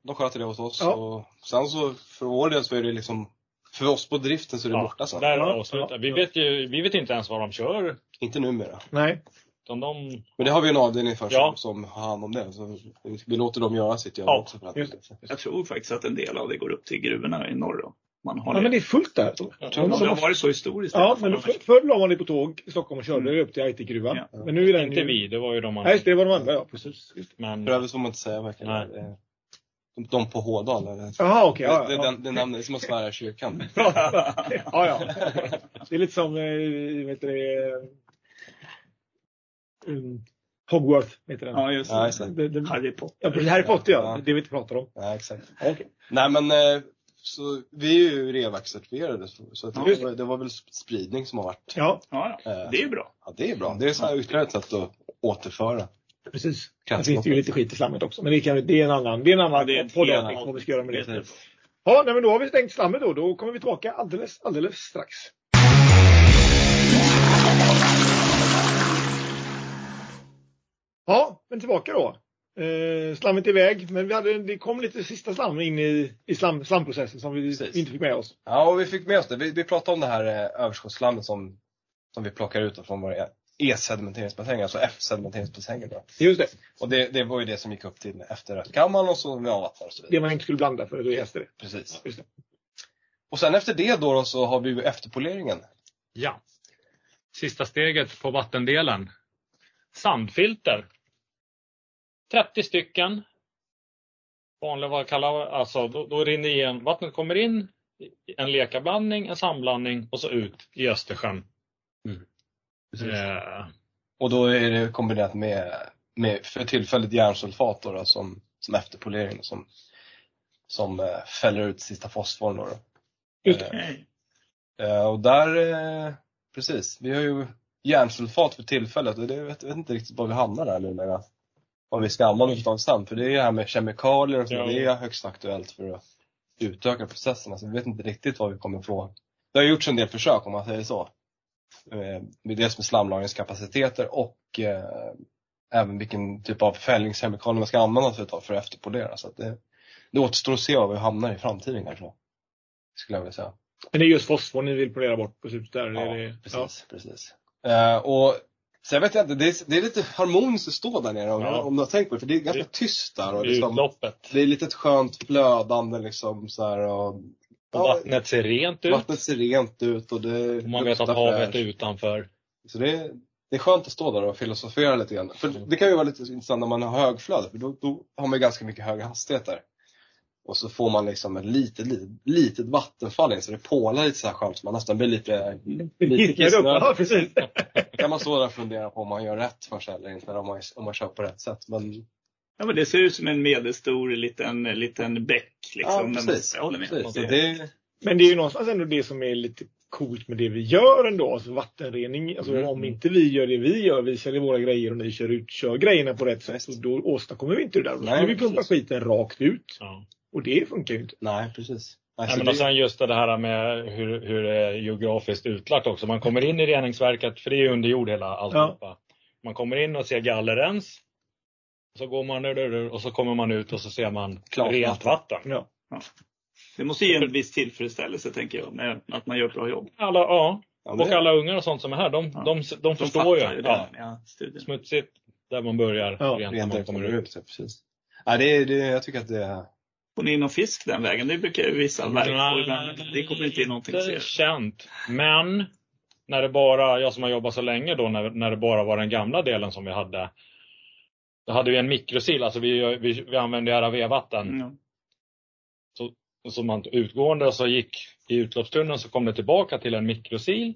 De sköter det åt oss. Ja. Och sen så för vår del så är det liksom, för oss på driften så är det Ja, borta sen. där Ja, och slutar. ja. Vi, vet ju, vi vet inte ens vad de kör. Inte numera. Nej. Utan de, Men det har vi en avdelning för Ja. som, som har hand om det. Så vi, vi låter dem göra sitt jobb Ja, också. För att, just Jag tror faktiskt att en del av det går upp till gruvorna i norr. då. Man har Ja, men det är fullt där. det, det har varit så historiskt. i alla Ja, fall. men då- förr förr la man det på tåg i Stockholm och körde upp till Aitikgruvan. Ja. Men nu är den inte ju... vi, det var ju de Nej, just det, andra. det var de andra. Ja, precis. Men för övrigt får man inte säga verkligen. Mm. Nej. Eh, De, de på Hådal. eller? Jaha, okej. det, det, ja, ja, Den, det namnet är som att svära i kyrkan. ja, ja. Det är lite som, eh, vad heter det, eh, um, Hogwarth heter den. Ja, just Ja, det. just det. Det- det- Harry Potter. Ja, precis. Harry Potter ja. Ja. Det vi inte pratar om. Ja, exakt. Okej. Nej men eh, så vi är ju Revac-certifierade så, så att det, Just var, det var väl spridning som har varit. Ja, Ja, ja. Eh, det är bra. ja, det är bra. Det är så här ytterligare ett sätt att återföra. precis. Det Kretsloppet. finns ju lite skit i slammet också. Men det, kan, vi- det är en annan, det är en annan Ja, det är ett podd- helt- vad vi ska göra med det. Jättebra. Ja, nej, men då har vi stängt slammet då. Då kommer vi tillbaka alldeles, alldeles strax. Ja, men tillbaka då. Eh, slammet är iväg, men vi hade, det kom lite sista slam in i, i slam, slamprocessen som vi Precis. inte fick med oss. Ja och vi fick med oss det. Vi, vi pratade om det här eh, överskottsslammet som, som vi plockar ut från våra E-sedimenteringsbassänger, alltså F-sedimenteringsbassänger. då. Just det, Och det, det var ju det som gick upp till efter rötkammaren och så vi avvattnar och så vidare. det man inte skulle blanda för då jäste det. Precis. Just det. Och sen efter det då, då så har vi ju efterpoleringen. ja. Sista steget på vattendelen. Sandfilter. 30 stycken. Vanliga vad kallar alltså då, då rinner igen. Vattnet kommer in, i en lekablandning, en samblandning och så ut i Östersjön. Mm. Eh, Och då är det kombinerat med, med för tillfället järnsulfat då, då, som, som efterpolering som, som eh, fäller ut sista fosforn. Då, då. Just Eh, Okej. Eh, och där, eh, precis, vi har ju järnsulfat för tillfället och det vet, vet inte riktigt var vi hamnar där nu när vad vi ska använda oss av sen. För det är det här med kemikalier och så, Ja. det är högst aktuellt för att utöka processerna. Så vi vet inte riktigt var vi kommer ifrån. Det har gjorts en del försök om man säger så. Eh, med dels med slamlagringskapaciteter och eh, även vilken typ av fällningskemikalier man ska använda sig av för att efterpolera. Så att det, det återstår att se var vi hamnar i framtiden kanske. Skulle jag vilja säga. Men det är just fosfor ni vill polera bort på slutet där. det är det, Ja, precis. precis. Eh, och Sen vet jag inte, det är, det är lite harmoniskt att stå där nere om, Ja. om du har tänkt på det. För det är ganska Det- tyst där. Och I liksom, utloppet. det är lite ett skönt flödande liksom så här, och, Och vattnet ser rent ut. Vattnet ser rent ut och det Och man vet att luktar havet är fräscht. utanför. Så det är, det är skönt att stå där och filosofera lite grann. För Mm. det kan ju vara lite intressant när man har högflöde för då, då har man ju ganska mycket höga hastigheter. Och så får man liksom ett litet, litet, litet vattenfall in så det pålar lite så här skönt så man nästan blir lite, lite Gissar upp. kissnödig. Ja, precis. kan man stå där och fundera på om man gör rätt för sig eller inte, eller om man, om man kör på rätt sätt. Men Ja, men det ser ut som en medelstor liten, liten bäck. Liksom, ja, Men precis. Jag håller med. precis. Så Det- det är, Men det är ju någonstans ändå det som är lite coolt med det vi gör ändå. Alltså vattenrening. Alltså Mm. om inte vi gör det vi gör, vi säljer våra grejer och ni kör ut, kör grejerna på rätt sätt. Och då åstadkommer vi inte det där. Då Nej, skulle vi pumpa precis. skiten rakt ut. Ja. Och det funkar ju inte. nej, precis. Nej, Nej, så men det- och sen Alltså, just det här med hur, hur det är geografiskt utlagt också. Man kommer in i reningsverket, för det är ju under jord hela alltihopa. Man kommer in och ser gallerrens. Så går man ur- ur- ur och så kommer man ut och så ser man Klart rent vatten. Ja. Det måste ge en viss tillfredsställelse, tänker jag, med att man gör ett bra jobb. Alla, ja. ja, men Och alla ungar och sånt som är här, de, Ja. de, de De förstår fattar ju. det Ja. här, ja, studien. Smutsigt där man börjar, Ja, rent när Rent man där kommer kommer ut. ut, ja, precis. Ja, det, är- det, jag tycker att det är Får ni in någon fisk den vägen? Det brukar ju vissa verk få ibland. Det kommer inte in någonting. Inte ser jag. känt. Men när det bara, jag som har jobbat så länge då, när, när det bara var den gamla delen som vi hade. Då hade vi en mikrosil, alltså vi, vi, vi använde RAV-vatten. Ja. Som man utgående så gick i utloppstunneln så kom det tillbaka till en mikrosil.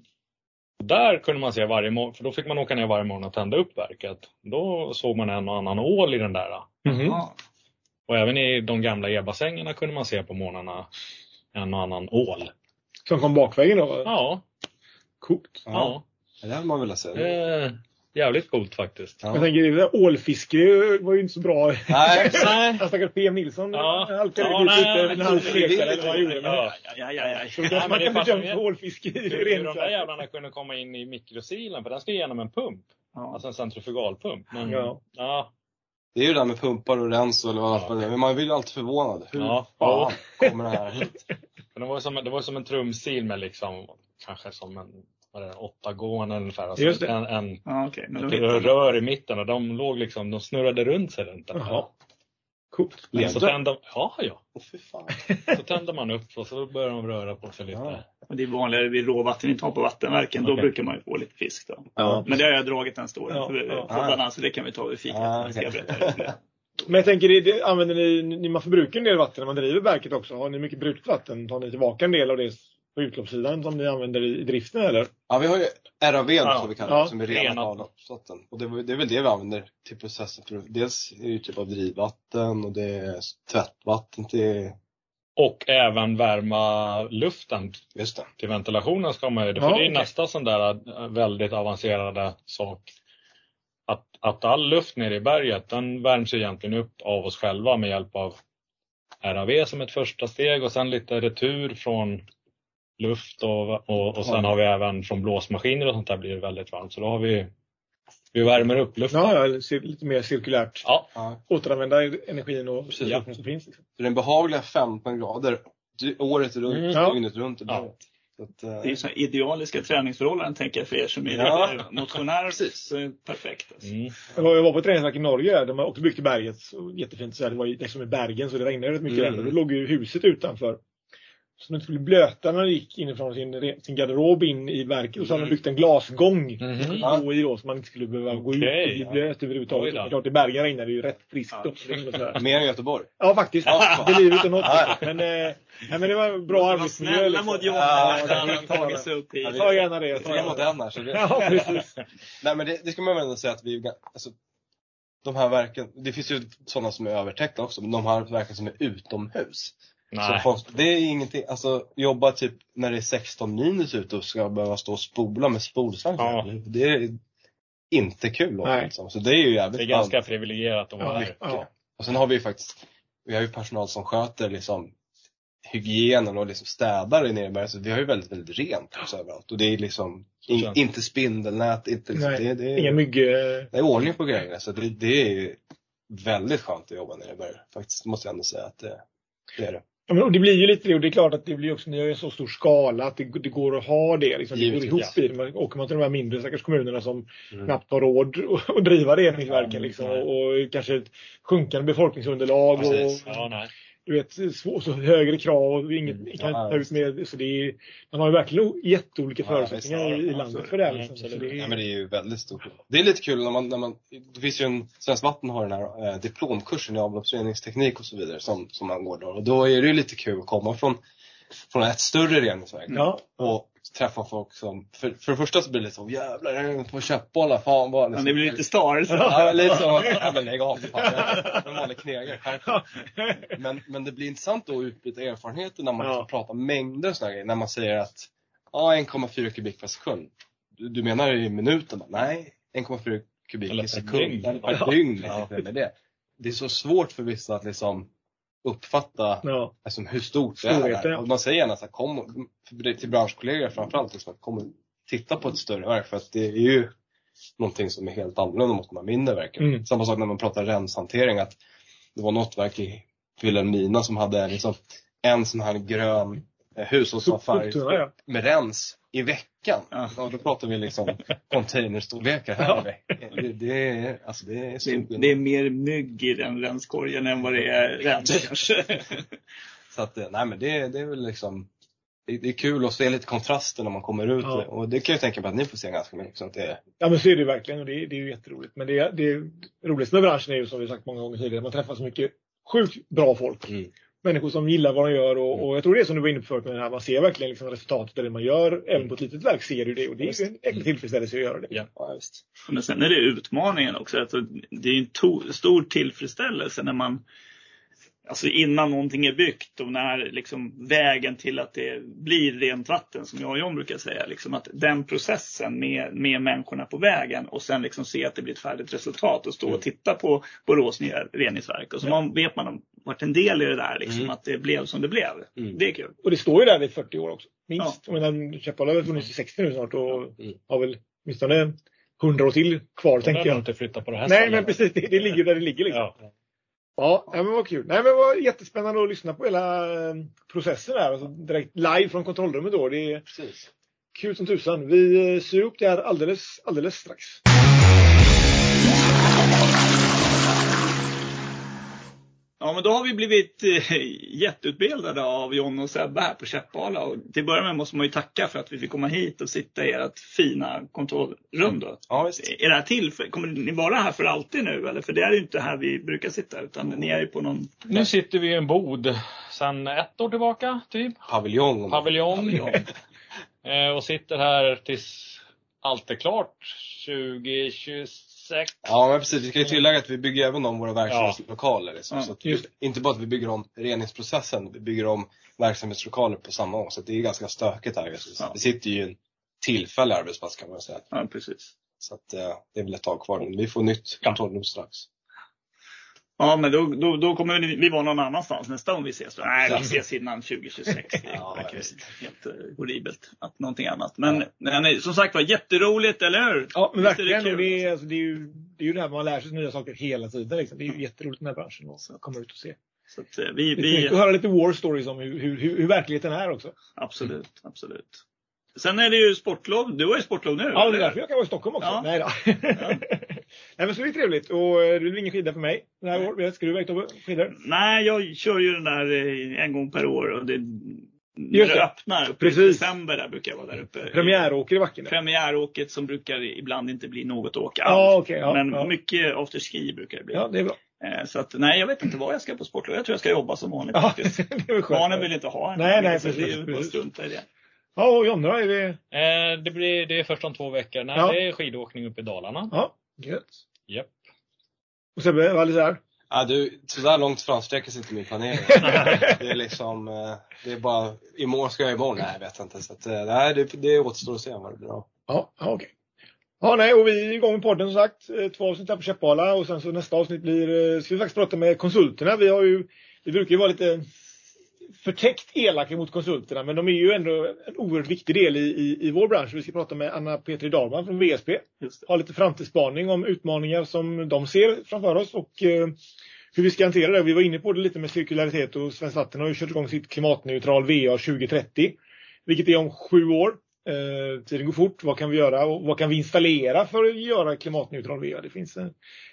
Och Där kunde man se varje morgon, för då fick man åka ner varje morgon och tända upp verket. Då såg man en och annan ål i den där. Mm-hmm. Ja. Och även i de gamla e-bassängerna kunde man se på morgnarna en och annan ål. Som kom bakvägen då. Ja, Coolt. ja. Ja, det hade man velat se. Eh, jävligt coolt faktiskt. Ja. Jag tänker, det där ålfiske var ju inte så bra. Nej, Nej. Han stackars PM Nilsson Ja. halkade Ja, dit nej, ute när han lekte eller vad han gjorde. Men- Ja. Ja, ja, ja, Så ja. kanske Man det kan är bli dömd fascinerande. för ålfiske i Hur de där reningsverk. jävlarna kunde komma in i mikrosilen, för den ska igenom en pump. ja. Alltså en centrifugalpump. Men, ja. Ja. Ja, Det är ju det här med pumpar och rens och eller vad Ja. det är. Men man blir ju alltid förvånad. Hur Ja. fan kommer det här hit? Men det var ju som, det var ju som en trumsil med liksom, kanske som en, vad är det, åtta gående ungefär. Alltså Just det. En, en, ja okej. Men då ett hittar man. rör i mitten och de låg liksom, de snurrade runt sig runt den. Jaha. Coolt. Men Så Levde. tände, ja, ja. Åh, fy fan. Så tände man upp och så började de röra på sig lite. Ja. Och det är vanligare vid råvattenintag på vattenverken. Då Okej. brukar man ju få lite fisk. Då. Ja. Men det har jag dragit den storyn Ja, på ja. på banan, så det kan vi ta vid fikat. Ah, Jag ska okej. berätta om det. Men jag tänker, det- det- använder ni, ni, man förbrukar en del vatten när man driver verket också. Har ni mycket brutet vatten? Tar ni tillbaka en del av det på utloppssidan som ni använder i i driften eller? ja, vi har ju RAV Ja. som vi kallar det, Ja. som är renat Renat. avloppsvatten. Och det, var- det är väl det vi använder till processen. För dels är det ju typ av drivvatten och det är tvättvatten till, Och även värma luften just det. till ventilationen ska man ju, för Ja, det är ju okej. nästa sån där eh, väldigt avancerade sak. Att, att all luft nere i berget, den värms ju egentligen upp av oss själva med hjälp av RAV som ett första steg och sen lite retur från luft och, och, och sen Ja. har vi även från blåsmaskiner och sånt där blir det väldigt varmt. Så då har vi, vi värmer upp luften. Ja, ja, eller cir- lite mer cirkulärt. Ja. Ja. Återanvända energin och Precis. ja. som finns. Liksom. Så det är en behagliga 15 grader dy- året runt, Mm. Ja. dygnet runt. Ja. Så att, eh, Det är ju så här idealiska träningsförhållanden tänker jag för er som är Ja. eh, motionärer. Precis. Så är det perfekt. Alltså. Mm. Jag var- jag var på ett reningsverk i Norge. De har också byggt i berget. Så jättefint. Så här, det var ju liksom i Bergen så det regnade rätt mycket. Mm. där. Och Då låg ju huset utanför. Så de inte skulle blöta när de gick inifrån sin, re- sin garderob in i verket. Och så hade de Mm. byggt en glasgång. Mhm. Ja. gå i då så man inte skulle behöva gå ut Okej, och bli ja. blöt överhuvudtaget. Oj då. Men Klart i Bergen regnar det ju rätt friskt Ja. också. liksom, Det är väl sådär. Mer än Göteborg. Ja faktiskt. Ja. Det är livet och något. Men, eh, nej, men det var en bra Var arbetsmiljö. liksom. snälla mot Johan. liksom. Ja, att det han har kan jag tagit ta. sig upp hit. Ja, det- Ta gärna det. Ta Tre gärna mot det. en här. Så det, Ja, precis. Nej men det, det ska man väl ändå säga att vi, är ga- alltså, de här verken, det finns ju sådana som är övertäckta också, men de här verken som är utomhus. Så Nej. folk, det är ingenting, alltså jobba typ när det är 16 minus ute och ska behöva stå och spola med spolsvamp. Ja. Det är inte kul då, Nej. liksom. Så det är ju jävligt Det är skönt. ganska privilegierat att vara Ja, här. ja. Och sen har vi ju faktiskt, vi har ju personal som sköter liksom hygienen och liksom städar i Nereberg. Så vi har ju väldigt, väldigt rent också överallt. Och det är liksom in, känns det. inte spindelnät, inte liksom, Nej, det, det är, Inga myggor. det är ordning på grejerna. Så det, det är ju väldigt skönt att jobba nere i Berg. Faktiskt måste jag ändå säga att det, det är det. Ja, men och det blir ju lite det och det är klart att det blir också, ni har ju en så stor skala att det, det går att ha det. Liksom, det går ihop Givetvis, i det. Men Åker man till de här mindre stackars kommunerna som knappt har råd att- att driva reningsverken Ja, liksom, nej. och, och kanske ett sjunkande befolkningsunderlag Mm. Precis. och Ja, nej. du vet, svå- så högre krav och inget, Mm. kan Ja, inte ta ut mer. Så det är, man har ju verkligen o- jätteolika Ja, förutsättningar visst, ja, i, i ja, landet absolut. för det. här, Ja, Liksom. Så absolut. det Ja, är, men det är ju väldigt stort. Det är lite kul när man, när man det finns ju en, Svenskt Vatten har den här eh, diplomkursen i avloppsreningsteknik och så vidare som, som man går då. Och då är det ju lite kul att komma från, från ett större reningsverk ja, och träffa folk som, för, för det första så blir det lite så, jävlar är det på köttbollar, fan vad Men liksom. det blir lite störelse. Ja, men lite så. Ja, men lägg av för fan. Jag är En vanlig knegare, skärp dig. men, men det blir intressant då att utbyta erfarenheter när man Ja. liksom pratar mängder och såna här grejer. När man säger att ja, 1,4 kubik per sekund. Du, du menar ju i minuten? Bara, Nej, 1,4 kubik Eller i per sekund. dygn. Eller Per dygn. liksom, det är det. Det är så svårt för vissa att liksom uppfatta ja, alltså, hur stort det är. Storheten, där. ja. Och man säger gärna så här, kom, och- för- till branschkollegor framförallt, liksom, att kom och titta på ett större verk. För att det är ju någonting som är helt annorlunda mot de här mindre verken. Mm. Samma sak när man pratar renshantering. Att det var något verk i Vilhelmina som hade liksom en sån här grön eh, hushållsavfärg soptunna ja. med rens i veckan. Ja. Och då pratar vi liksom containerstorlekar här i veckan. Det, det, är- alltså det är så Det, det är mer mygg i den renskorgen än vad det är rens kanske. Så att, eh, nej men det, det är väl liksom det, det är kul att se lite kontraster när man kommer ut. Ja. Och det kan jag tänka mig att ni får se ganska mycket. Så att det, Ja men så är det ju verkligen och det, det är ju jätteroligt. Men det, det roligaste med branschen är ju som vi sagt många gånger tidigare, man träffar så mycket sjukt bra folk. Mm. Människor som gillar vad de gör och, Mm. och jag tror det är som du var inne på förut med det här, man ser verkligen liksom resultatet av det man gör. Även Mm. på ett litet verk ser du det och det är ju en äcklig tillfredsställelse att göra det. ja, visst. Men sen är det utmaningen också. Alltså, det är ju en to- stor tillfredsställelse när man Alltså innan någonting är byggt och när liksom vägen till att det blir rent vatten som jag och John brukar säga. Liksom att den processen med, med människorna på vägen och sen liksom se att det blir ett färdigt resultat och Mm. stå och titta på Borås nya reningsverk. Och så man, vet man om- varit en del i det där, liksom, Mm. att det blev som det blev. Mm. Det är kul. Och det står ju där i 40 år också. Minst. Jag menar, Käppala har väl funnits i 60 nu snart och Mm. har väl åtminstone 100 år till kvar Då behöver tänker man jag. inte flytta på det här Nej stället. men precis, det, det ligger där det ligger liksom. Ja. Ja, nej, men vad kul. Nej, men vad jättespännande att lyssna på hela eh, processen här. Alltså direkt live från kontrollrummet då. Det är Precis. kul som tusan. Vi eh, syr upp det här alldeles, alldeles strax. Ja, men då har vi blivit eh, jätteutbildade av John och Sebbe här på Käppala. Och till början med måste man ju tacka för att vi fick komma hit och sitta i ert fina kontrollrum. Då. Ja, visst. Är det här till, för- kommer ni vara här för alltid nu? Eller? För det är ju inte här vi brukar sitta utan ni är ju på någon... Nu sitter vi i en bod sedan ett år tillbaka, typ. Paviljong. om- Paviljong. Paviljong. Eh, och sitter här tills allt är klart 2026. Ja, men precis. Vi ska ju tillägga att vi bygger även om våra verksamhetslokaler. Liksom. Ja, så att just inte bara att vi bygger om reningsprocessen, vi bygger om verksamhetslokaler på samma gång. Så att det är ganska stökigt här just nu. Så Ja. Vi sitter ju i en tillfällig arbetsplats kan man säga. Ja, precis. Så att, eh, det är väl ett tag kvar. Men vi får nytt Ja. kontrollrum strax. Ja, men då, då, då kommer ni- vi vara någon annanstans nästa gång vi ses. Då. Nej, vi ses innan 2026. Det Ja, verkar ju visst. helt eh, horribelt att någonting annat. Men, men eh, som sagt var, jätteroligt, eller hur? Ja, men Visst är det verkligen. Det, kul, och det, är, alltså, det, är ju, det är ju det här man lär sig nya saker hela tiden. Liksom. Det är ju jätteroligt i den här branschen att komma ut och se. Så att, eh, vi, Det är vi, snyggt att höra lite war stories om hur, hur, hur, hur verkligheten är också. Absolut, absolut. Sen är det ju sportlov. Du har ju sportlov nu. Ja, det eller? är därför jag kan vara i Stockholm också. Ja. Nej då. Nej men så det är trevligt. Och eh, det blir ingen skida för mig den här året. Ska du iväg Tobbe? Skidor? Nej, jag kör ju den där eh, en gång per år och det, när Just det det. öppnar uppe i Precis. december. Där brukar jag vara där uppe. Premiäråker i backen? Ja, Premiäråket som brukar ibland inte bli något åk alls. ja okej. ja, Men ja. mycket afterski brukar det bli. ja, det är bra. Eh, Så att, nej, jag vet inte vad jag ska på sportlov. Jag tror jag ska jobba som vanligt Ja, faktiskt. det är väl skönt. Barnen vill inte ha en. Nej, nej, så det är ju precis, bara att precis. strunta i det. Ja, och Jonna är det... Eh, det, blir, det är först om två veckor. Nej, Ja. det är skidåkning upp i Dalarna. Ja, gött. Japp. Och Sebbe, vad är det där? Ja, du, sådär långt framsträcker sig inte min planering. det är liksom, eh, det är bara, imorgon ska jag imorgon. Nej, jag vet inte. Så att, eh, nej, det, det återstår att se vad det blir av. Ja, ja okej. Ja, nej, och vi är igång med podden som sagt. Eh, Två avsnitt här på Käppala och sen så nästa avsnitt blir, eh, ska vi faktiskt prata med konsulterna. Vi har ju, vi brukar ju vara lite förtäckt elaka mot konsulterna men de är ju ändå en oerhört viktig del i, i, i vår bransch. Vi ska prata med Anna Petri Dahlman från VSP. Just det. Ha lite framtidsspaning om utmaningar som de ser framför oss och eh, hur vi ska hantera det. Vi var inne på det lite med cirkularitet och Svenskt Vatten har ju kört igång sitt klimatneutral VA 2030. Vilket är om sju år. Eh, tiden går fort. Vad kan vi göra och vad kan vi installera för att göra klimatneutral VA? Det finns, eh,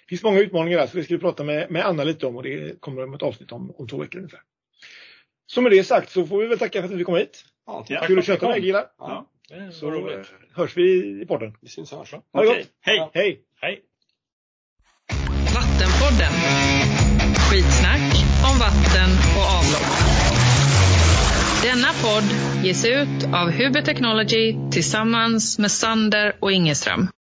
finns många utmaningar där så det ska vi prata med, med Anna lite om och det kommer ett avsnitt om, om två veckor ungefär. Så med det sagt så får vi väl tacka för att vi kom hit. Ja, Ja. Kul tack att för att köta med ni dig killar. Ja. Det är Så roligt. eh, hörs vi i podden. Vi syns och hörs va? Ha det Okej, gott. hej! Hej! Hej! Vattenpodden. Skitsnack om vatten och avlopp. Denna podd ges ut av Huber Technology tillsammans med Sander och Ingeström.